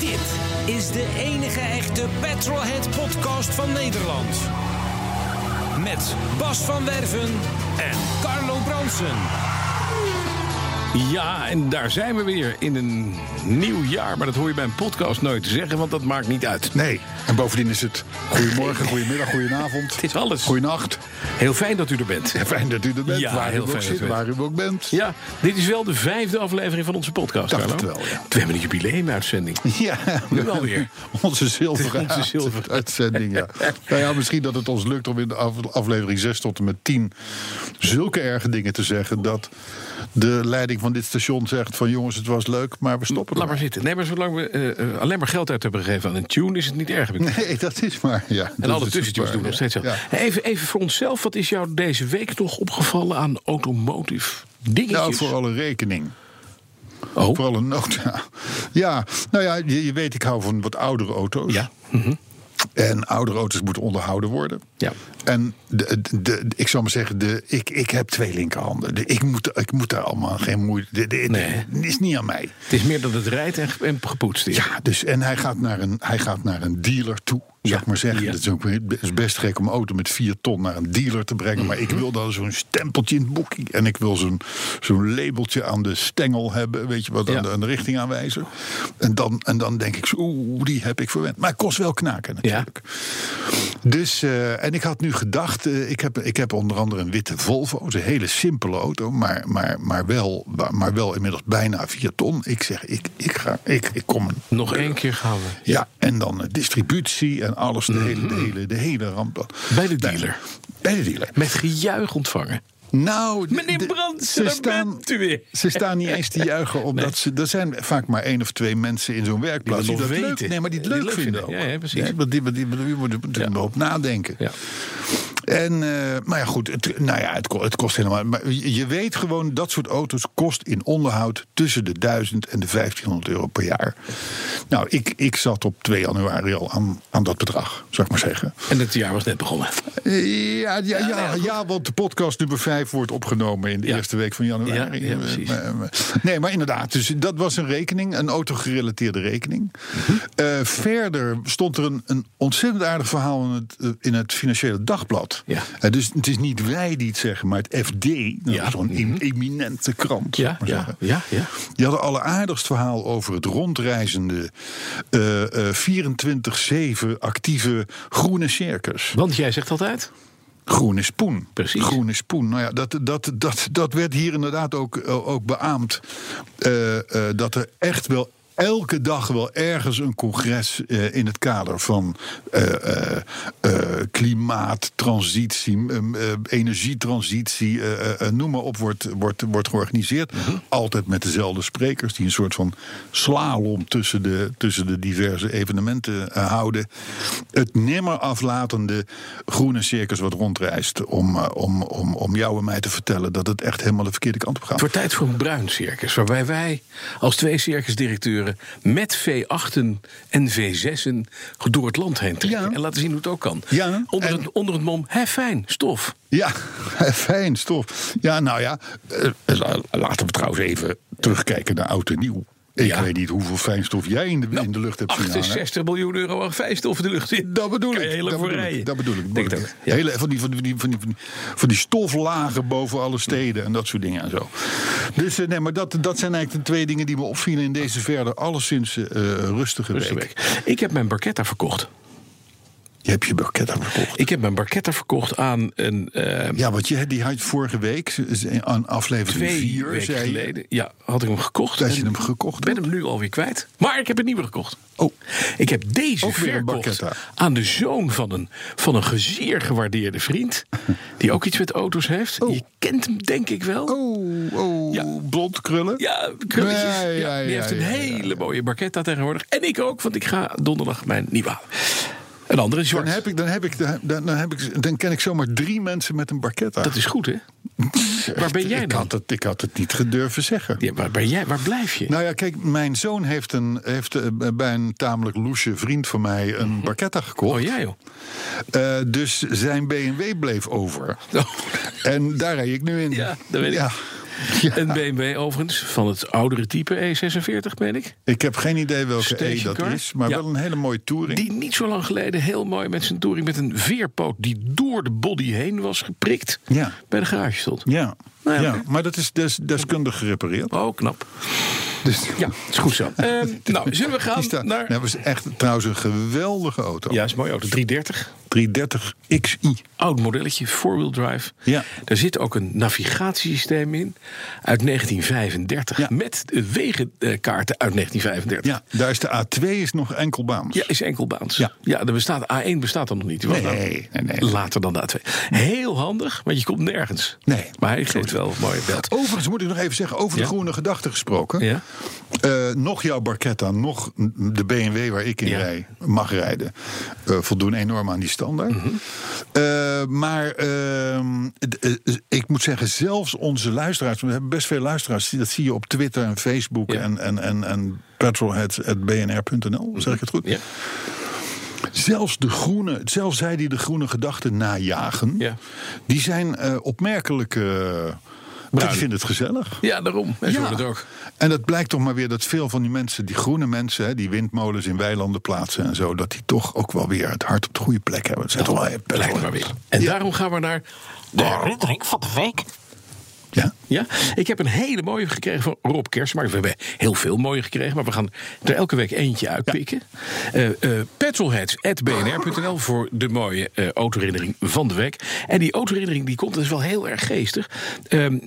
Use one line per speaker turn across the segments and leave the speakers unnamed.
Dit is de enige echte Petrolhead podcast van Nederland. Met Bas van Werven en Carlo Bronsen.
Ja, en daar zijn we weer in een nieuw jaar. Maar dat hoor je bij een podcast nooit te zeggen, want dat maakt niet uit.
Nee. En bovendien is het goedemorgen, goedemiddag, goedenavond.
Het is alles.
Goeienacht.
Heel fijn dat u er bent.
En fijn dat u er bent,
Ja,
waar u
heel
ook
fijn dat
zit,
u er
waar u ook bent.
Ja, dit is wel de vijfde aflevering van onze podcast.
Dacht
Carlo.
het wel, ja.
We hebben een jubileumuitzending.
Ja,
Nu wel weer.
Onze zilveren,
Onze zilveren.
uitzending. Ja. nou ja, misschien dat het ons lukt om in de af- aflevering 6 tot en met 10 zulke erge dingen te zeggen. Dat de leiding van dit station zegt: van jongens, het was leuk, maar we stoppen.
Laat maar zitten. Nee, maar zolang we eh, eh, alleen maar geld uit hebben gegeven aan een tune, is het niet erg. heb ik
ermee. Nee, dat is dus maar. Ja,
En alle tussentunes doen we nog steeds zo.
zelf.
Even, even voor onszelf, wat is jou deze week nog opgevallen aan automotive dingetjes?
Nou, voor alle rekening.
Oh.
Vooral een nota. Ja, nou ja, je, je weet, ik hou van wat oudere auto's.
Ja.
En oudere auto's moeten onderhouden worden.
Ja.
En de, de, de- ik zou maar zeggen, de, ik, ik heb twee linkerhanden. De- ik, moet, ik moet daar allemaal geen moeite... de- de- de-
Nee.
Het is niet aan mij.
Het is meer dat het rijdt en, ge- en gepoetst is.
Ja, dus, en hij gaat, naar een, hij gaat naar een dealer toe, zou
Ja,
ik maar zeggen.
ja.
Dat is, ook, het is best gek om een auto met 4 ton naar een dealer te brengen. Maar
Mhm.
ik wil dan zo'n stempeltje in het boekje. En ik wil zo'n zo'n labeltje aan de stengel hebben. Weet je wat,
Ja.
aan, de, aan de richtingaanwijzer. En dan, en dan denk ik, zo, oeh, die heb ik verwend. Maar het kost wel knaken natuurlijk. Dus, eh, en ik had nu gedacht, eh, ik, heb, ik heb onder andere een witte Volvo. Het is een hele simpele auto, maar, maar, maar, wel, maar wel inmiddels bijna 4 ton. Ik zeg, ik, ik, ga, ik, ik kom een
Nog één keer gaan we.
ja, en dan eh, distributie en alles, de, hele,
Mhm.
de, hele, de hele ramp. dan.
Bij de
Nou,
dealer.
bij de dealer.
Met gejuich ontvangen.
Nou, de-
Meneer
de-
Brandsen, daar bent u weer.
Ze staan niet eens te juichen, omdat ze, er zijn vaak maar één of twee mensen in zo'n werkplaats
Die
die,
dat
dat
weten.
leuk, nee, maar die het leuk, vinden. ook.
Ja, ja, precies.
want die, want die, want die moeten er maar op nadenken.
Ja.
En, eh, maar ja, goed, het, nou ja, het, ko- het kost helemaal. Maar je je weet gewoon, dat soort auto's kost in onderhoud tussen de 1000 en de 1500 euro per jaar. Nou, ik, ik zat op 2 januari al aan, aan dat bedrag, zou ik maar zeggen.
En het jaar was net begonnen.
Eh, Ja, ja, ja, ja, want de podcast nummer 5 wordt opgenomen in de
nou Ja.
eerste week van januari.
Ja, ja, precies.
Eh, eh, eh, Nee, maar inderdaad, dus dat was een rekening, een autogerelateerde rekening.
Mhm.
Eh, verder stond er een, een ontzettend aardig verhaal in het, eh, in het Financiële Dagblad.
Ja.
Eh, dus het is niet wij die het zeggen, maar het FD, dat
Ja. Mhm.
is zo'n em- eminente krant. zou
Ja,
ik maar
ja,
zeggen.
ja, ja.
Die hadden alleraardigst verhaal over het rondreizende eh, eh, 24-7 actieve groene circus.
Want jij zegt altijd?
Groene spoen.
Precies.
Groene spoen. Nou ja, dat, dat, dat, dat werd hier inderdaad ook, eh, ook beaamd. Eh, eh, dat er echt wel elke dag wel ergens een congres eh, in het kader van eh, eh, eh, klimaat, transitie, em, eh, energietransitie, eh, eh, eh, noem maar op, wordt, wordt, wordt georganiseerd. Altijd met dezelfde sprekers die een soort van slalom tussen de, tussen de diverse evenementen eh, houden. Het nimmer aflatende groene circus wat rondreist om, eh, om, om, om jou en mij te vertellen dat het echt helemaal de verkeerde kant op gaat.
Het wordt tijd voor een bruin circus. Waarbij wij als twee circusdirecteuren met V8'en en V6'en door het land heen trekken.
Ja.
En laten zien hoe het ook kan.
Ja,
onder,
en-
het, onder het mom, hè, fijn, stof.
Ja, fijn, stof. Ja, nou ja, eh, eh, laten we trouwens even terugkijken naar oud en nieuw. Ik
Ja.
weet niet hoeveel fijnstof jij in de, in de lucht hebt zien hangen.
68 miljoen euro aan fijnstof in de lucht zit.
Dat bedoel
Kan je
ik.
heel erg
dat,
voor
bedoel
rijden.
ik dat bedoel ik.
Denk
bedoel
het
ik.
ook, ja.
Hele, van, die, van, die, van, die, van, die, van die stoflagen boven alle steden en dat soort dingen en zo. Dus eh, nee, maar dat, dat zijn eigenlijk de twee dingen die me opvielen in deze verder alleszins eh, rustige,
Rustige
week.
week. Ik heb mijn barquetta verkocht.
Je hebt je barketten verkocht.
Ik heb mijn barketten verkocht aan een. eh,
Ja, want je, die had je vorige week, eh, aan aflevering
twee
4,
weken
zei je,
geleden. Ja, had ik hem gekocht.
dat
en
je hem gekocht
ben
hebt.
hem nu alweer kwijt. Maar ik heb een nieuwe gekocht.
Oh.
Ik heb deze
Ook weer een
verkocht
barchetta.
aan de zoon van een, van een gezeer gewaardeerde vriend. Die ook iets met auto's heeft.
Oh.
Je kent hem denk ik wel.
Oh, oh
Ja.
blond krullen.
Ja, krulletjes.
Ja,
Ja,
ja,
die
ja,
heeft een
ja, ja,
hele mooie barquetta tegenwoordig. En ik ook, want ik ga donderdag mijn nieuwe halen. Een andere is zwart.
Dan heb ik, dan heb ik, dan, dan dan heb ik, dan ken ik zomaar drie mensen met een barketta.
Dat is goed, hè? Waar ben jij
ik
dan?
Had het, ik had het niet gedurven zeggen.
Ja, waar, ben jij, waar blijf je?
Nou ja, kijk, mijn zoon heeft, een, heeft eh, bij een tamelijk loesje vriend van mij een barketta gekocht.
oh, jij joh.
Eh, dus zijn BMW bleef over.
Oh.
En daar rij ik nu in.
Ja, dat weet ik.
Ja. Ja.
Een BMW overigens, van het oudere type E46, ben ik.
Ik heb geen idee welke E dat
Stationcar?
is, maar
Ja.
wel een hele mooie touring.
Die niet zo lang geleden heel mooi met zijn touring met een veerpoot die door de body heen was geprikt.
Ja.
Bij de garage stond.
Ja.
Nou ja,
ja,
oké.
maar dat is des, deskundig gerepareerd.
Oh, knap.
Dus
Ja, is goed zo. Ehm, nou, zullen we gaan
is daar-
naar...
Nou, was echt trouwens een geweldige auto.
Ja, is mooi auto. 330.
330 XI.
oud modelletje, four-wheel drive.
Ja.
Daar zit ook een navigatiesysteem in uit 1935.
Ja.
Met de wegenkaarten uit 1935.
Ja, daar is de A2 is nog enkelbaans.
Ja, is enkelbaans.
Ja.
er bestaat, A1 bestaat dan nog niet. Die was
Nee,
dan
nee, nee.
Later dan de A2. Heel handig, want je komt nergens.
Nee.
Maar hij geeft wel een mooie beeld.
Overigens moet ik nog even zeggen, over
Ja.
de groene gedachte gesproken.
Ja.
Eh, nog jouw Barketta, nog de BMW waar ik in
Ja.
rij, mag rijden. eh, voldoen enorm aan die standaard.
Mhm.
Eh, maar ehm, d- eh, ik moet zeggen, zelfs onze luisteraars... we hebben best veel luisteraars, dat zie je op Twitter en Facebook...
Ja.
en, en, en, en petrolheads.bnr.nl, zeg ik het goed?
Ja.
Zelfs de groene, zelfs zij die de groene gedachten najagen,
Ja.
die zijn eh opmerkelijk. eh, maar die vinden het gezellig.
ja, daarom. Hij
Ja.
zorgt het ook.
En dat blijkt toch maar weer dat veel van die mensen, die groene mensen, hè, die windmolens in weilanden plaatsen en zo, dat die toch ook wel weer het hart op de goede plek hebben. Het zijn toch wel eh, best
Blijkt
wel-
maar weer. En daarom gaan we naar de rubriek van de week.
Ja.
Ja, ik heb een hele mooie gekregen van Rob Kersmaar. We hebben heel veel mooie gekregen, maar we gaan er elke week eentje uitpikken. Eh eh, petrolheads@bnr.nl voor de mooie eh autoherinnering van de week. En die autoherinnering die komt, dat is wel heel erg geestig. Ehm,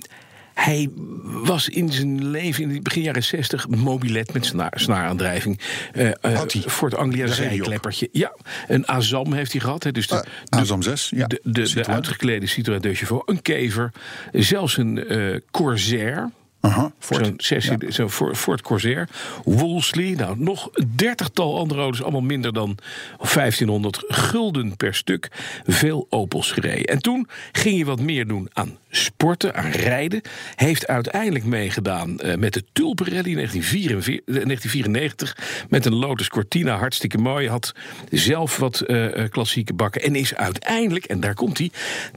hij was in zijn leven in het begin jaren 60 mobilet met sna- snaaraandrijving. Eh eh
Had hij?
Ford Anglia
Daar reed hij op.
zijkleppertje. Ja, een Azam heeft hij gehad. Hè, dus de,
Ah, Azam 6, ja.
de, de, de
Citroën.
uitgeklede Citroën de Chauveau, een kever, zelfs een eh, Corsair.
Aha, Ford.
Zo'n sessie, zo'n Ford- Ford Corsair. Wolseley, nou, nog een dertigtal andere auto's, allemaal minder dan 1500 gulden per stuk. Veel Opels gereden. En toen ging je wat meer doen aan sporten, aan rijden. Heeft uiteindelijk meegedaan eh, met de Tulpenrally in 1944 eh, 1994. Met een Lotus Cortina, hartstikke mooi. Had zelf wat eh, eh, klassieke bakken. En is uiteindelijk, en daar komt hij,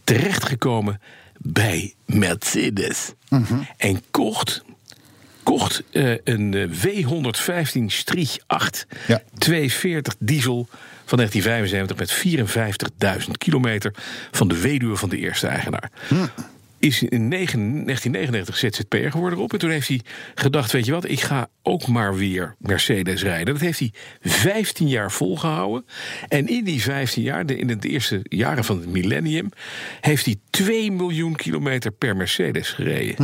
terechtgekomen bij Mercedes. En kocht kocht eh, een eh, W115 Strich 8
Ja.
240 diesel van 1975 met 54.000 kilometer van de weduwe van de eerste eigenaar. Is in negen- 1999 ZZP'er geworden op. En toen heeft hij gedacht, weet je wat, ik ga ook maar weer Mercedes rijden. Dat heeft hij 15 jaar volgehouden. En in die 15 jaar, de- in de eerste jaren van het millennium... heeft hij 2 miljoen kilometer per Mercedes gereden.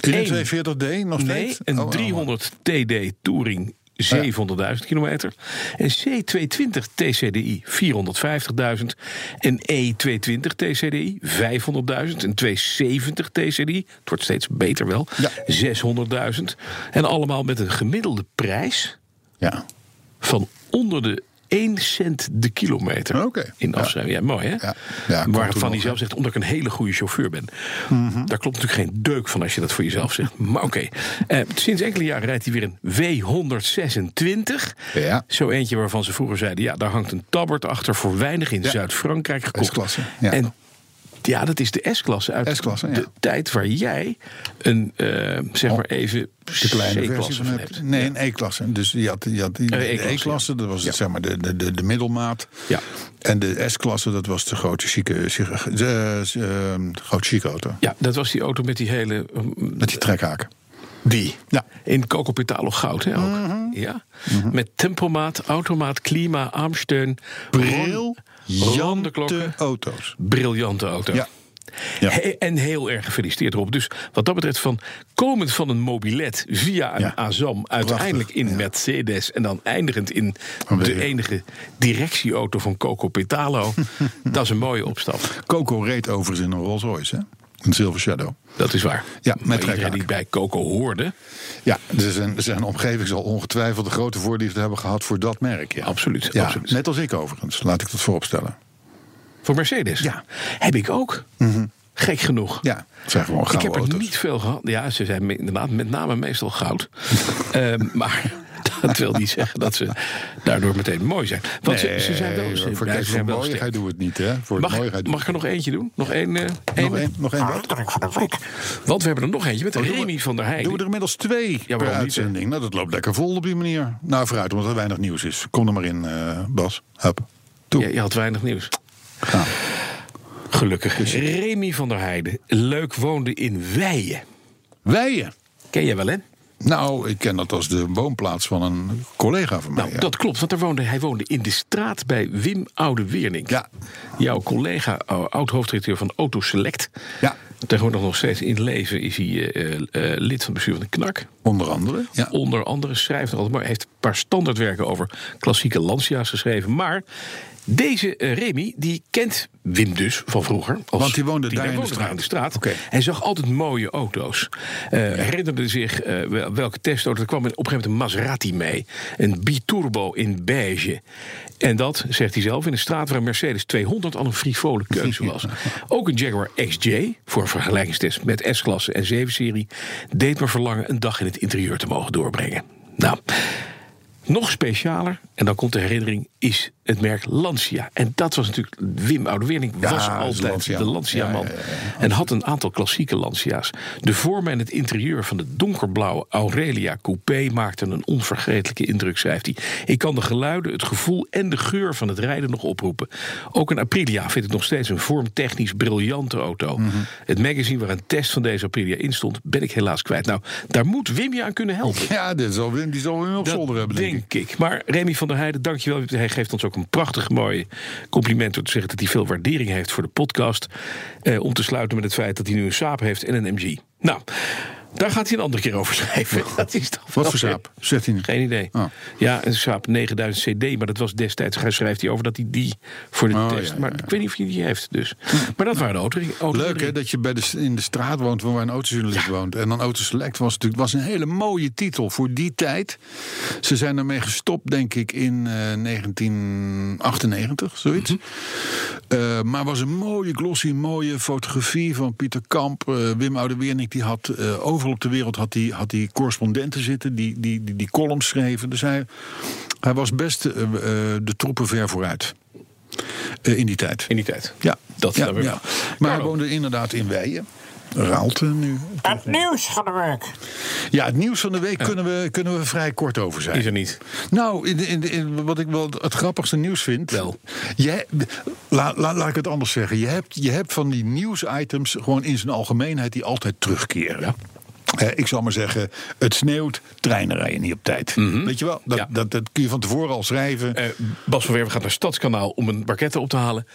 In een
Eén.
42D nog
Nee,
steeds?
een
Oh, oh, oh.
300 TD Touring 700.000 kilometer. Een C220 TCDI 450.000. Een E E220 TCDI 500.000. Een 270 TCDI, het wordt steeds beter wel,
Ja.
600.000. En allemaal met een gemiddelde prijs
Ja.
van onder de 1 cent de kilometer.
Oké.
In afschrijving. Ja, mooi hè?
Ja. Ja, komt er
Waarvan
nog, Mhm.
hij zelf zegt, omdat ik een hele goede chauffeur ben. Daar klopt natuurlijk geen deuk van als je dat voor jezelf zegt. Maar oké. Eh, sinds enkele jaren rijdt hij weer een W126.
Ja.
Zo eentje waarvan ze vroeger zeiden... ja, daar hangt een tabbert achter voor weinig in Zuid-Frankrijk gekocht.
S-klasse, ja.
En ja, dat is de S-klasse uit
S-klasse, ja.
de tijd waar jij een, eh, zeg maar even,
De kleine
C-klasse
versie
van
van
hebt.
hebt. Nee, een E-klasse. Dus je had, je had die,
Eh,
de
E-klasse,
E-klasse, dat was
ja.
zeg maar de, de, de, de middelmaat.
Ja.
En de S-klasse, dat was de grote chique, chique, de, ehm, de grote chique auto.
Ja, dat was die auto met die hele...
Met die trekhaak.
Die.
Ja. Mhm.
In Cocopitalo goud, hè, ook. Ja. Met tempomaat, automaat, klima, armsteun.
Bril.
Ron- Ronde
Jante
klokken.
auto's.
Briljante auto.
Ja. Ja.
He- en heel erg gefeliciteerd Rob. Dus wat dat betreft, van komend van een mobilet via een
Ja.
Azam, uiteindelijk in
ja.
Mercedes en dan eindigend in
Een
de
weer.
enige directieauto van Coco Petalo. dat is een mooie opstap.
Coco reed overigens in een Rolls Royce, hè? Een Silver Shadow.
Dat is waar.
Ja, met
maar iedereen
trekhaak.
die bij Coco hoorde,
Ja, dus zijn, zijn omgeving zal ongetwijfeld de grote voorliefde hebben gehad voor dat merk. Ja.
Absoluut,
Ja,
absoluut.
Net als ik overigens, laat ik dat vooropstellen.
voor Mercedes,
Ja. Mhm.
heb ik ook. Gek genoeg.
Ja, het zijn gewoon
Ik
gouden
heb er
auto's.
niet veel gehad. Ja, ze zijn me- inderdaad met name meestal goud. Ehm, maar dat wil niet zeggen dat ze daardoor meteen mooi zijn. Want ze, ze zijn wel,
Nee,
ze,
Eh, voor,
ja, ze
kijk, voor
zijn wel
mooiigheid
sterk.
doen we het niet, hè? Voor
Mag,
mooiigheid
ik-
doen
mag ik er nog eentje doen? Nog één? eh, één?
nog één, Oh, nog één. wat?
Want we hebben er nog eentje met Remy van der Heijden.
Doen we er inmiddels twee
Ja,
per
waarom niet, hè?
uitzending? nou, dat loopt lekker vol op die manier. Nou, vooruit, omdat er weinig nieuws is. Kom er maar in, eh, Bas. Hup. Toe.
Je, je had weinig nieuws.
Gaan.
Gelukkig. Remy van der Heijden. Leuk woonde in Weijen.
Wijen.
Ken je wel, hè?
Nou, ik ken dat als de woonplaats van een collega van mij.
Nou,
ja.
dat klopt, want er woonde, hij woonde in de straat bij Wim Oude-Wernink.
Ja.
Jouw collega, o- oud-hoofdredacteur van Auto Select.
Ja.
Tegenwoordig nog steeds in het leven is hij eh, eh, eh, lid van het bestuur van de KNAK.
Onder andere. Ja.
Onder andere schrijft er altijd maar. Hij heeft een paar standaardwerken over klassieke Lancia's geschreven. Maar deze eh, Remy, die kent Wim dus van vroeger. als-
Want die woonde daar in de
daar
straat.
aan de straat.
Oké.
Hij zag altijd mooie auto's. Eh, herinnerde zich eh, wel- welke testauto. Er kwam op een gegeven moment een Maserati mee. Een biturbo in beige. En dat, zegt hij zelf, in een straat waar een Mercedes 200 al een frivole keuze was. Ook een Jaguar XJ, voor een vergelijkingstest met S-klasse en 7-serie... deed me verlangen een dag in het interieur te mogen doorbrengen. Nou, nog specialer, en dan komt de herinnering, is het merk Lancia. En dat was natuurlijk, Wim Oudewering was
Ja, dat is
altijd
Lancia.
de Lancia-man.
Ja, ja, ja,
En had een aantal klassieke Lancia's. De vorm en het interieur van de donkerblauwe Aurelia Coupé maakten een onvergetelijke indruk, schrijft hij. Ik kan de geluiden, het gevoel en de geur van het rijden nog oproepen. Ook een Aprilia vind ik nog steeds een vormtechnisch briljante auto.
Mhm.
Het magazine waar een test van deze Aprilia in stond, ben ik helaas kwijt. Nou, daar moet Wim je aan kunnen helpen.
Ja, dit zal, Wim- die zal Wim op zolder hebben, denk ik.
Maar Remy van der Heijden, dankjewel. Hij geeft ons ook een prachtig mooi compliment... door te zeggen dat hij veel waardering heeft voor de podcast. Eh, om te sluiten met het feit dat hij nu een saap heeft en een MG. Nou, daar gaat hij een andere keer over schrijven. Dat is toch wel
Wat voor
weer-
saap? Zet hij niet.
Geen idee.
Oh.
Ja, een saap 9000 CD, maar dat was destijds. Hij schrijft hij over dat hij die voor de
Oh,
test...
ja, ja,
maar
ja.
ik weet niet of hij die heeft, dus. Maar dat waren de auto.
Leuk hè, dat je bij de, in de straat woont waar een autojournalist woont. En dan Autoselect was natuurlijk was een hele mooie titel voor die tijd. Ze zijn ermee gestopt, denk ik, in eh, 1998, zoiets. Eh, maar was een mooie glossy, mooie fotografie van Pieter Kamp. eh, Wim Oudeweernink, die had eh, overal op de wereld had die, had die correspondenten zitten... die die, die, die columns schreven. Dus hij, hij was best eh, eh, de troepen ver vooruit. Eh, in die tijd.
In die tijd.
Ja,
Dat
ja,
daar weer wel.
ja. Maar hij
Carlo.
woonde inderdaad in Weijen. Raalte nu.
Het nieuws van de week.
Ja, het nieuws van de week kunnen, we, kunnen we vrij kort over zijn.
Is er niet.
Nou, in, in, in- wat ik wel het grappigste nieuws vind.
Wel.
Je, la, la- laat ik het anders zeggen. Je hebt, je hebt van die nieuwsitems gewoon in zijn algemeenheid die altijd terugkeren.
Ja.
Hè, ik zal maar zeggen, het sneeuwt, treinen rijden niet op tijd. Weet je wel, dat,
Mhm. Ja.
dat, dat kun je van tevoren al schrijven.
Eh, Bas van Werven gaat naar Stadskanaal om een barquette op te halen.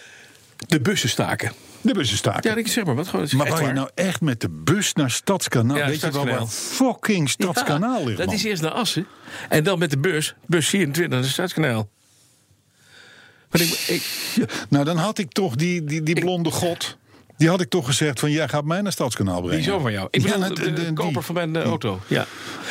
De bussen staken.
de bussen staken.
Ja, ik zeg maar wat gewoon. het is
maar
echt
waar je
waar.
nou echt met de bus naar Stadskanaal...
Ja,
weet je wel
Stadskanaal.
waar fucking Stadskanaal
Ja,
ligt,
Dat
man?
is eerst naar Assen. En dan met de bus. Bus 24 naar Stadskanaal. Maar ik, ik,
Nou, dan had ik toch die, die, die blonde god. Die had ik toch gezegd van jij gaat mij naar Stadskanaal brengen.
die is zo van jou. Ik bedoel,
Ja,
de,
de- de-
de koper
die.
van mijn eh, auto. Ja.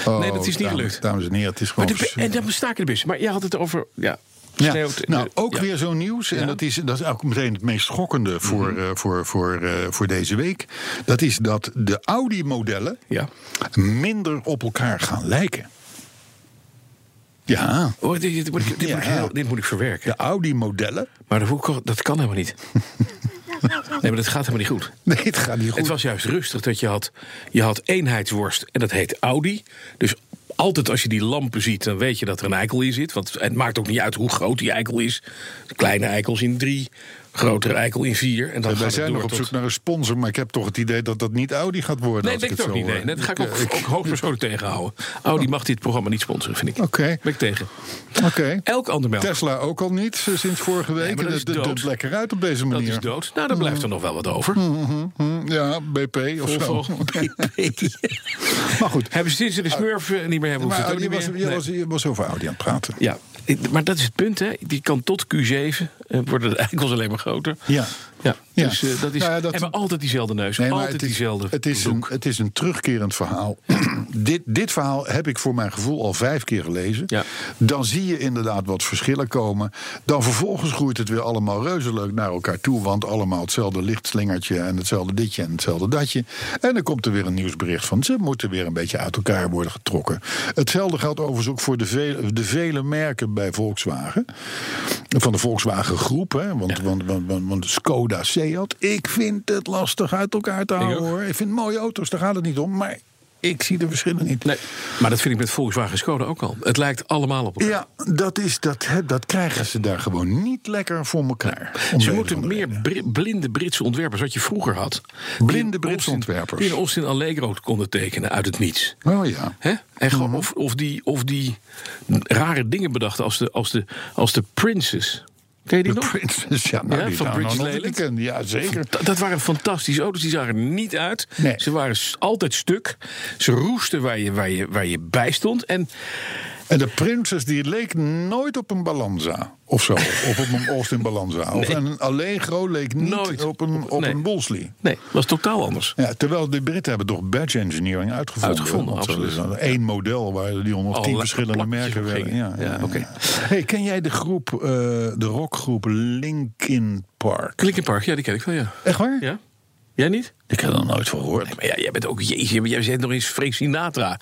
Oh,
nee, dat is niet
dames-
gelukt.
Dames en heren, het is
Maar
gewoon.
de bu- en
verschrikkelijk.
dan staken de bus. Maar jij had het over. Ja,
Ja,
sneeuwt,
nou,
eh,
ook
ja. Mhm.
weer zo'n nieuws. En dat, is, dat is ook meteen het meest schokkende voor, eh, voor, voor, eh, voor deze week. Dat is dat de Audi-modellen
Ja.
minder op elkaar gaan lijken. Ja,
Oh, dit, dit, moet ik, dit,
Ja.
moet ik heel- dit moet ik verwerken.
de Audi-modellen.
Maar dat, hoe- dat kan helemaal niet. nee, maar dat gaat helemaal niet goed.
Nee, het gaat niet goed.
Het was juist rustig dat je had, je had eenheidsworst en dat heet Audi. Dus altijd als je die lampen ziet, dan weet je dat er een eikel in zit. Want het maakt ook niet uit hoe groot die eikel is. Kleine eikels in drie, grotere eikel in vier. En dan
Wij
gaat het
zijn
door
nog op
tot-
zoek naar een sponsor, maar ik heb toch het idee dat dat niet Audi gaat worden.
Nee,
als
dat ik
het
het ook
zo,
niet. Nee.
eh,
Nee, dat ga ik ook,
ik-
ook hoogpersoonlijk tegenhouden. Audi mag dit programma niet sponsoren, vind ik.
Oké.
Ben ik tegen.
Oké.
Elk ander merk.
Tesla ook al niet eh, sinds vorige week.
maar
en
dat
dat
is dood.
doet lekker uit op deze
Dat
manier.
is dood. Nou, dan blijft er nog wel wat over.
Hm, Ja, BP of zo.
Volvo, BP.
Maar goed.
Hebben ze sinds ze de smurf eh, niet meer hebben
Ah. Maar
hoeft het ook
Audi
niet
was,
meer.
je,
Nee.
was, je was over Audi aan het praten.
Ja, maar dat is het punt, hè. Die kan tot Q7 eh, worden de eikels alleen maar groter.
Ja.
Ja,
Ja.
dus eh, dat is...
Nou ja, dat-
Hebben altijd diezelfde neus,
Nee, maar
altijd
het is,
diezelfde
Het is, een,
look.
het is een terugkerend verhaal. dit, dit verhaal heb ik voor mijn gevoel al vijf keer gelezen.
Ja.
Dan zie je inderdaad wat verschillen komen. Dan vervolgens groeit het weer allemaal reuze leuk naar elkaar toe. Want allemaal hetzelfde lichtslingertje en hetzelfde ditje en hetzelfde datje. En dan komt er weer een nieuwsbericht van ze moeten weer een beetje uit elkaar worden getrokken. Hetzelfde geldt overigens ook voor de vele, de vele merken bij Volkswagen. Van de Volkswagen groep, hè? Want, want, want, want, want Skoda, Seat. Ik vind het lastig uit elkaar te houden
ook.
hoor. Ik vind mooie auto's, daar gaat het niet om. Maar ik zie de verschillen niet.
Nee, maar dat vind ik met Volkswagen Skoda ook al. Het lijkt allemaal op elkaar.
Ja, dat, is, dat, hè, dat krijgen ze daar gewoon niet lekker voor elkaar. Om de
Ze
een of
moeten
andere
meer
reden.
Bri- blinde Britse ontwerpers, wat je vroeger had.
Blinde
Die in
Britse
Austin-
ontwerpers.
Die in Austin Allegro konden tekenen uit het niets.
Oh ja.
Hè? En gewoon
Mhm.
of, of, die, of die rare dingen bedachten als de, als de, als de Princess. Ken je die
De
nog?
Princess, ja, nou,
Ja,
die
van
zou
British
nog nooit
Leyland.
gekend. Ja, zeker.
Dat, dat waren fantastische auto's, die zagen er niet uit.
Nee.
Ze waren s- altijd stuk. Ze roesten waar je, waar, je, waar je bij stond. En
En de Princess die leek nooit op een Balanza of zo. of op een Austin Balanza. Of een Allegro leek niet
Nooit.
op een, op
Nee.
een Wolseley.
nee, was totaal anders.
Ja, terwijl de Britten hebben toch badge engineering uitgevonden.
Uitgevonden,
Want
absoluut.
Er is één model waar die onder
Alle
tien verschillende
plakjes
merken
op
werden. Ja,
gingen.
ja,
Ja,
ja.
oké.
Hey, ken jij de groep, eh, de rockgroep Linkin Park?
Linkin Park, ja, die ken ik wel, ja.
Echt waar?
ja? Jij niet?
Ik heb er nooit van gehoord.
Maar ja, jij bent ook, jeetje, maar jij bent nog eens Frank Sinatra.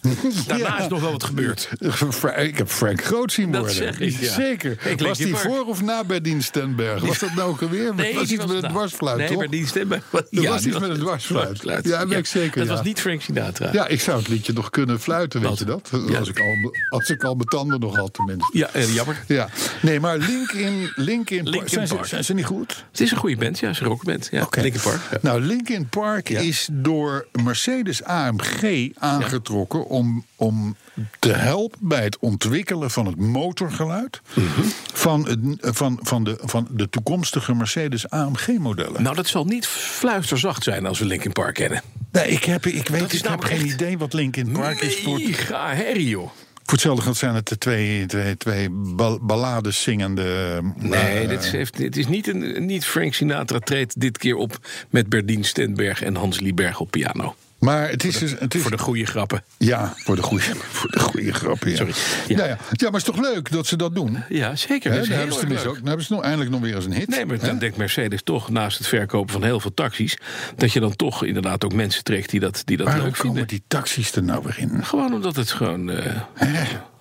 Daarna
Ja.
is nog wel wat gebeurd.
Fra- Ik heb Frank Groot zien
Dat
worden.
zeg ik, ja. Ik
Zeker.
Linkin
Was die
Park.
voor of na bij Dienst Stenberg? Was dat nou ook alweer? was
die
iets met een
nou-
dwarsfluit,
Nee,
toch?
maar die stemmen...
Dat was iets met een dwarsfluit. Ja, weet ik zeker,
Dat
ja.
was niet Frank Sinatra.
Ja, ik zou het liedje nog kunnen fluiten, weet
Wat?
je dat?
Ja.
Als, ik al, als ik al mijn tanden nog had, tenminste.
Ja, eh, jammer.
Ja, nee, maar Linkin, Linkin, Park.
Linkin
Zijn, ze,
Park.
zijn ze niet goed?
Het is een goede band, ja. Ze rockband. Ja,
Oké.
Linkin Park. Ja.
Nou, Linkin Park is door Mercedes AMG aangetrokken om, om te helpen bij het ontwikkelen van het motorgeluid
Mhm.
van, het, van, van, de, van de toekomstige Mercedes AMG-modellen.
Nou, dat zal niet fluisterzacht zijn als we Linkin Park kennen.
nee, ik, heb, ik weet,
dat is
ik heb
namelijk
geen
echt
idee wat Linkin Park is voor
Mega herrie, joh.
Voor hetzelfde geld zijn het de twee, twee, twee bal- ballades zingende.
Nee,
eh,
dit, is, heeft- dit is niet, een, niet Frank Sinatra treedt dit keer op... met Berdien Stenberg en Hans Lieberg op piano.
Maar het is. dus- Het is
Voor de goede grappen.
Ja, voor de goede, voor de goede grap. Ja.
Sorry.
Ja.
Ja.
Nou ja, ja, maar het is toch leuk dat ze dat doen? Hè,
Ja, zeker.
dan
dat is heel
hebben ze
erg
tenminste
leuk.
ook, dan hebben ze nog, eindelijk nog weer eens een hit.
Nee, maar dan
Hè?
denkt Mercedes toch, naast het verkopen van heel veel taxis... dat je dan toch inderdaad ook mensen trekt die dat, die dat
Waarom
leuk
komen
vinden.
die taxis er nou weer in?
Gewoon omdat het gewoon eh,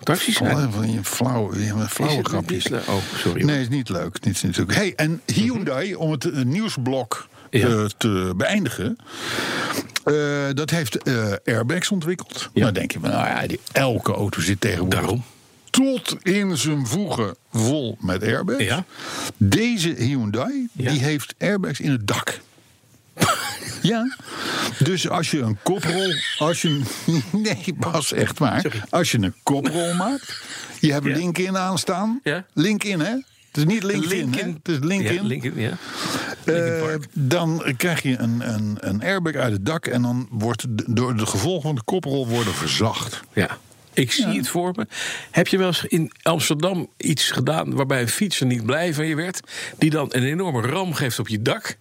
taxis zijn.
Flauw, van die flauwe, die hebben
Is
flauwe
het niet
grapjes.
leuk? Oh, sorry. Mhm.
Nee, is niet leuk. Niet, niet leuk. Hey, en Hyundai, om het eh, nieuwsblok
Ja.
eh, te beëindigen. eh, dat heeft eh, airbags ontwikkeld. Nou denk je, van, nou ja, die, elke auto zit tegenwoordig...
Daarom.
Tot in zijn voegen vol met airbags.
Ja.
Deze Hyundai,
Ja.
die heeft airbags in het dak. Ja. Dus als je een koprol. Als je, nee, Bas, echt waar. Als je een koprol maakt. Je hebt
Ja.
LinkedIn aanstaan.
Ja.
LinkedIn, hè? Het is niet LinkedIn, hè?
Linkin-
Het is LinkedIn.
Ja, Linkin, ja.
Eh,
Linkin Park.
dan krijg je een, een, een airbag uit het dak. En dan wordt de- door de gevolgen van de koprol worden verzacht.
Ja. Ik zie het voor me. Heb je wel eens in Amsterdam iets gedaan waarbij een fietser niet blij van je werd, die dan een enorme ram geeft op je dak?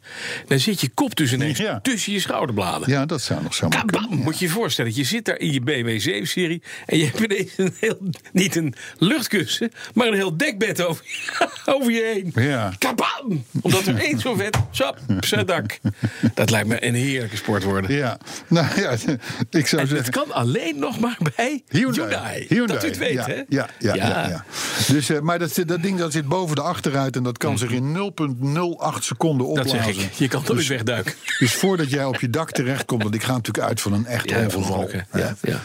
Dan zit je kop dus ineens
Ja.
tussen je schouderbladen.
Ja, dat zou nog zo maar
Kabam, moet je je voorstellen. Je zit daar in je BMW 7-serie en je hebt ineens een heel, niet een luchtkussen, maar een heel dekbed over, over je heen.
Ja.
Kabam! Omdat er één zo vet, sap, zijn dak. Dat lijkt me een heerlijke sport worden.
Ja, nou ja, ik zou
En
zeggen.
het kan alleen nog maar bij
Hyundai.
Hyundai. Dat u het weet,
ja,
hè?
Ja, ja, ja.
Ja.
ja. Dus, eh, maar dat, zit- dat ding dat zit boven de achteruit en dat kan zich in 0,08 seconden
Mhm. Dat
opblazen.
zeg ik. Je kan toch niet wegduiken.
Dus voordat jij op je dak terechtkomt, want ik ga natuurlijk uit van een echt
Ja, van
ongeval.
ongelukken,
hè,
ja, ja.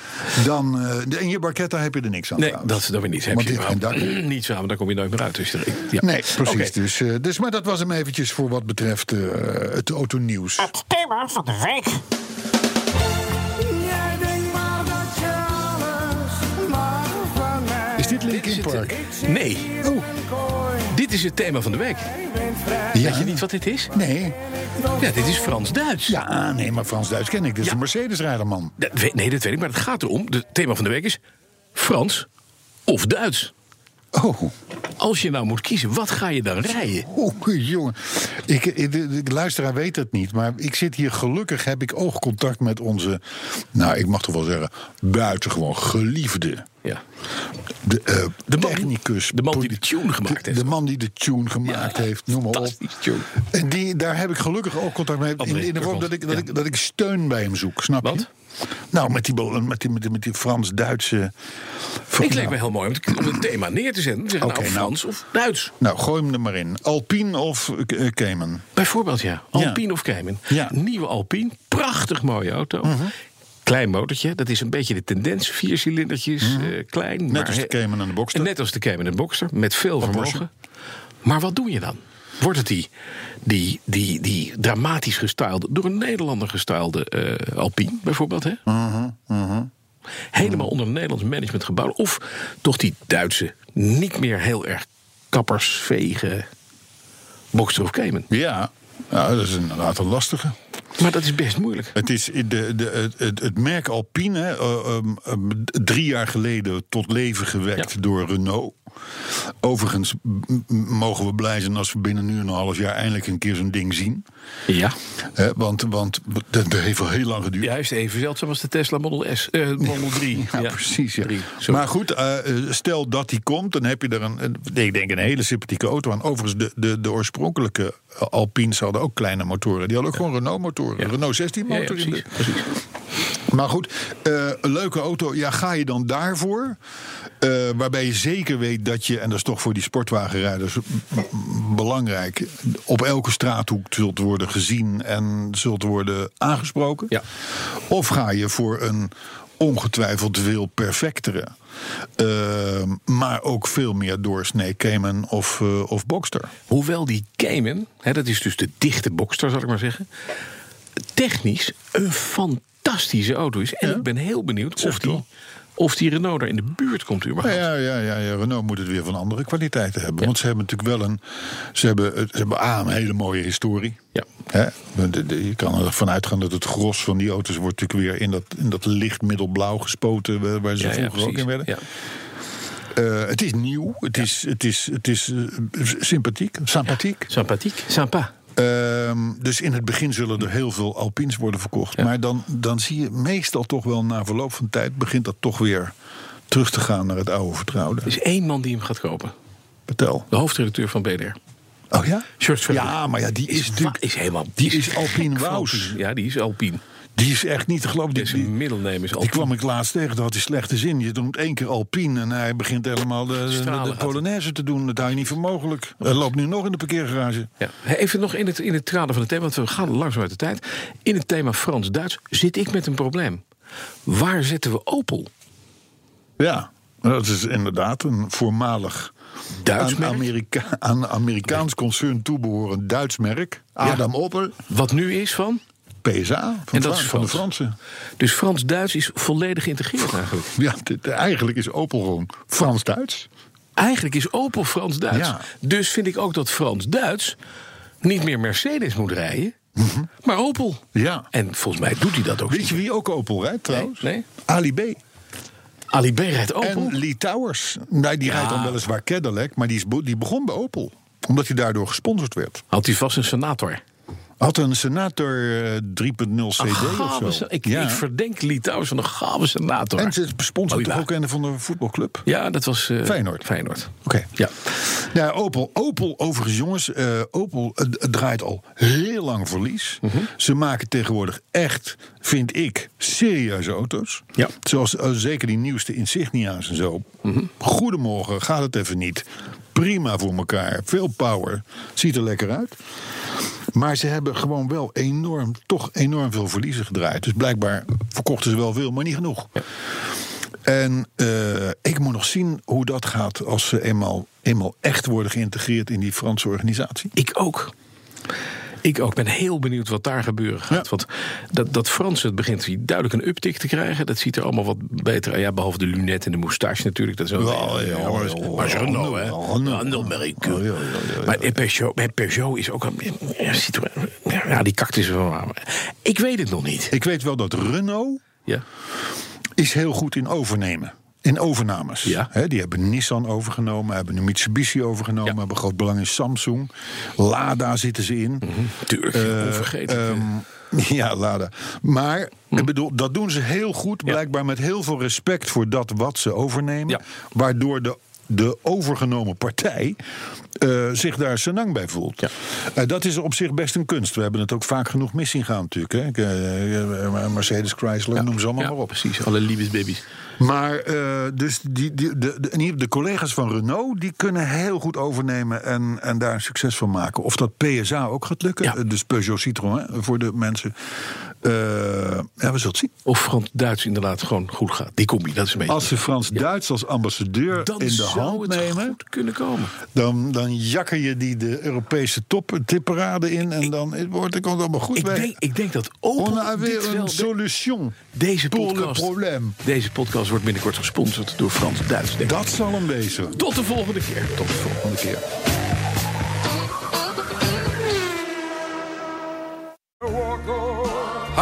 Dan, eh, in je barketta heb je er niks aan.
Nee,
trouwens.
dat, dat weer niet. Heb
Want
je
dit is geen dak.
überhaupt niet samen, daar kom je nooit meer uit. Dus daar- ja.
Nee, precies.
Oké.
Dus, eh, dus, maar dat was hem eventjes voor wat betreft eh, het autonieuws.
Het thema van de week.
Jij denkt maar dat je alles maar van mij
Is dit
Dit is
Linkin
het-
Park?
Nee,
Oh,
kooi
dit is het thema van de week.
bent vrij.
ja.
Weet je niet wat dit is?
Nee.
Ja, dit is Frans-Duits.
Ja, nee, maar Frans-Duits ken ik. Dit is
Ja.
een Mercedes-rijder, man.
Dat weet- nee, dat weet ik, maar het gaat erom. Het thema van de week is Frans of Duits.
Oh,
Als je nou moet kiezen, wat ga je dan rijden?
oh jongen. Ik, ik- de, de luisteraar weet het niet, maar ik zit hier gelukkig... heb ik oogcontact met onze, nou, ik mag toch wel zeggen... buitengewoon geliefde
Ja.
de, eh,
De man-
technicus.
de man die
poli-
de tune gemaakt
de-
heeft.
De man die de tune gemaakt
Ja,
heeft, noem maar op.
fantastische tune.
En die, daar heb ik gelukkig ook contact mee. In,
André
in de vorm dat ik, dat,
Kerkhoff,
ik, dat ik steun bij hem zoek, snap je?
Wat?
Nou, met die, bol- met die, met die, met die Frans-Duitse...
Ik leek me heel mooi om het, om het thema neer te zetten. Zeggen,
Oké,
nou,
nou.
Frans of Duits.
Nou, gooi hem er maar in. Alpine of eh, Cayman?
Bijvoorbeeld, ja.
Ja.
Alpine of Cayman.
Ja. Mhm.
Nieuwe Alpine. Prachtig mooie auto. Klein motortje. Dat is een beetje de tendens. Vier cilindertjes, eh, klein. Net
Mhm. als de Cayman en de Boxster.
Net als de Cayman en de Boxster. Met veel vermogen.
Porsche.
Maar wat doe je dan? Wordt het die, die, die, die dramatisch gestylede, door een Nederlander gestylede eh, Alpine bijvoorbeeld? Hè?
Mhm,
Helemaal onder een Nederlands management gebouwd. Of toch die Duitse, niet meer heel erg kappersvege Boxster of Cayman.
Ja. Nou, dat is inderdaad een lastige.
Maar dat is best moeilijk.
Het, is de, de, het, het- het merk Alpine, hè, eh, ehm, ehm, drie jaar geleden tot leven gewekt
Ja.
door Renault. Overigens m- m- mogen we blij zijn als we binnen nu een half jaar eindelijk een keer zo'n ding zien.
Ja.
Hè, want, want dat heeft wel heel lang geduurd.
Juist even zeldzaam als de Tesla Model S. eh, Model 3.
Ja, precies. Ja.
Drie, sorry.
Maar goed, eh, eh, stel dat die komt, dan heb je er een, een- ik denk een hele sympathieke auto aan. Overigens, de, de, de oorspronkelijke eh, Alpines hadden ook kleine motoren. Die hadden ook gewoon Renault-motoren.
Ja.
Renault 16
Ja, ja,
motor. in
precies,
de-
precies.
Maar goed, eh, een leuke auto. Ja, ga je dan daarvoor? Eh, waarbij je zeker weet dat je, en dat is toch voor die sportwagenrijders m- m- belangrijk, op elke straathoek zult worden gezien en zult worden aangesproken.
Ja.
Of ga je voor een ongetwijfeld veel perfectere, eh, maar ook veel meer doorsnee Cayman of, eh, of Boxster.
Hoewel die Cayman, hè, dat is dus de dichte Boxster, zal ik maar zeggen. Technisch een fantastische auto is. En ik ben heel benieuwd of die, of die Renault daar in de buurt komt überhaupt.
Ja, ja, ja, ja, Renault moet het weer van andere kwaliteiten hebben. Want ze hebben natuurlijk wel een. Ze hebben, het- ze hebben A, een hele mooie historie.
Ja.
Hè? De- de- Je kan ervan uitgaan dat het gros van die auto's wordt natuurlijk weer in dat, in dat licht middelblauw gespoten. waar- Waar ze
Ja, ja,
vroeger ook
precies.
in werden.
Ja.
Eh, het is nieuw, het is, het is, het is eh, sympathiek. sympathiek.
Sympathiek. Sympa.
Ehm, dus in het begin zullen er heel veel Alpines worden verkocht. Maar dan, dan zie je meestal toch wel na verloop van tijd begint dat toch weer terug te gaan naar het oude vertrouwde.
Er is één man die hem gaat kopen.
Vertel.
De hoofdredacteur van BNR.
Oh ja?
George Verhoeven.
Ja, maar ja, die is,
wa-
natuurlijk.
is helemaal...
die is
gek
Alpine
van
Wous.
Alpine. Ja, die is Alpine.
Die is echt niet te geloven. Die,
Deze
die,
middelneem is
die
Alpine.
kwam ik laatst tegen. Dat had hij slechte zin. Je noemt één keer Alpine en hij begint helemaal de, de-
Stralen
de,
gaat
Polonaise te doen. Dat hou je niet voor mogelijk. Hij loopt nu nog in de parkeergarage.
Ja. Even nog in het, in het kader van het thema, want we gaan langzaam uit de tijd. In het thema Frans-Duits zit ik met een probleem. Waar zetten we Opel?
Ja, dat is inderdaad een voormalig
Duits
aan,
merk?
Amerika- aan Amerikaans concern toebehorend Duits merk. Adam Opel,
Wat nu is van?
PSA, van,
En dat
Fra-
is
van de
Frans.
Fransen.
Dus Frans-Duits is volledig geïntegreerd eigenlijk.
Ja, dit- eigenlijk is Opel gewoon Frans-Duits.
Eigenlijk is Opel Frans-Duits.
Ja.
Dus vind ik ook dat Frans-Duits niet meer Mercedes moet rijden, maar Opel.
Mhm. Ja.
En volgens mij doet hij dat ook.
Weet je wie ook Opel rijdt trouwens?
nee.
Ali B.
Ali B rijdt Opel.
En Lee Towers. Nee, die rijdt dan weliswaar Cadillac, maar die, is, be- die begon bij Opel. Omdat hij daardoor gesponsord werd.
Had hij vast een senator.
Had een senator eh, 3.0 CD
Gave
of
se-
zo.
ik,
Ja.
ik verdenk Litouwers van een gave senator.
En ze sponsoren
Oila.
toch ook een van de voetbalclub?
Ja, dat was... eh,
Feyenoord.
Feyenoord.
Oké.
Ja.
Ja, Nou, Opel. Opel, overigens jongens, eh, Opel eh, d- draait al heel lang verlies. Ze maken tegenwoordig echt, vind ik, serieuze auto's.
Ja.
Zoals eh, zeker die nieuwste Insignia's en zo. Goedemorgen, gaat het even niet. Prima voor elkaar, veel power. Ziet er lekker uit. Maar ze hebben gewoon wel enorm, toch enorm veel verliezen gedraaid. Dus blijkbaar verkochten ze wel veel, maar niet genoeg. En eh, ik moet nog zien hoe dat gaat als ze eenmaal, eenmaal echt worden geïntegreerd in die Franse organisatie.
Ik ook. Ik ook. Ik ben heel benieuwd wat daar gebeuren gaat.
Ja.
Want dat, dat Frans, het begint hier duidelijk een uptick te krijgen. Dat ziet er allemaal wat beter uit. Ja, behalve de lunet en de moustache natuurlijk. Dat is wel
Wel, ja, hoor.
maar is Renault, hè?
Renault, Renault.
Renault, merk.
Oh, Ja, ja, ja, ja.
Maar en Peugeot, en Peugeot is ook... een- Ja, ziet er- ja, die cactus is wel... Ik weet het nog niet.
Ik weet wel dat Renault
Ja.
is heel goed in overnemen. In overnames.
Ja.
Hè, die hebben Nissan overgenomen, hebben de Mitsubishi overgenomen,
Ja.
hebben groot belang in Samsung. Lada zitten ze in.
Tuurlijk,
Eh,
onvergetelijk. Hm.
ehm, ja, Lada. Maar ik bedoel, dat doen ze heel goed, blijkbaar met heel veel respect voor dat wat ze overnemen.
Ja.
Waardoor de, de overgenomen partij eh, zich daar senang bij voelt.
Ja.
Eh, dat is op zich best een kunst. We hebben het ook vaak genoeg mis zien gaan natuurlijk. Hè. Ik, eh, Mercedes, Chrysler, noem ze allemaal
Ja,
maar op.
Precies, alle liebesbabies.
Maar eh, dus die, die, de, de, in ieder geval de collega's van Renault die kunnen heel goed overnemen en, en daar een succes van maken. Of dat PSA ook gaat lukken,
Ja.
eh, dus Peugeot Citroën eh, voor de mensen. Eh, ja, we zullen het zien.
Of Frans-Duits inderdaad gewoon goed gaat. Die combi, dat is een beetje...
Als ze Frans-Duits als ambassadeur
dan
in de
zou
hand
het
nemen,
goed kunnen komen.
dan, dan jakker je die de Europese top, eh, tipparade in en dan het wordt het komt allemaal goed
Ik
weg.
denk, ik denk dat
On a
Opel dit
weer
wel...
een solution
Deze
pour le
podcast,
problème.
deze podcast wordt binnenkort gesponsord door Frans-Duits. denk ik.
Dat zal hem wezen.
Tot de volgende keer. Tot de volgende keer.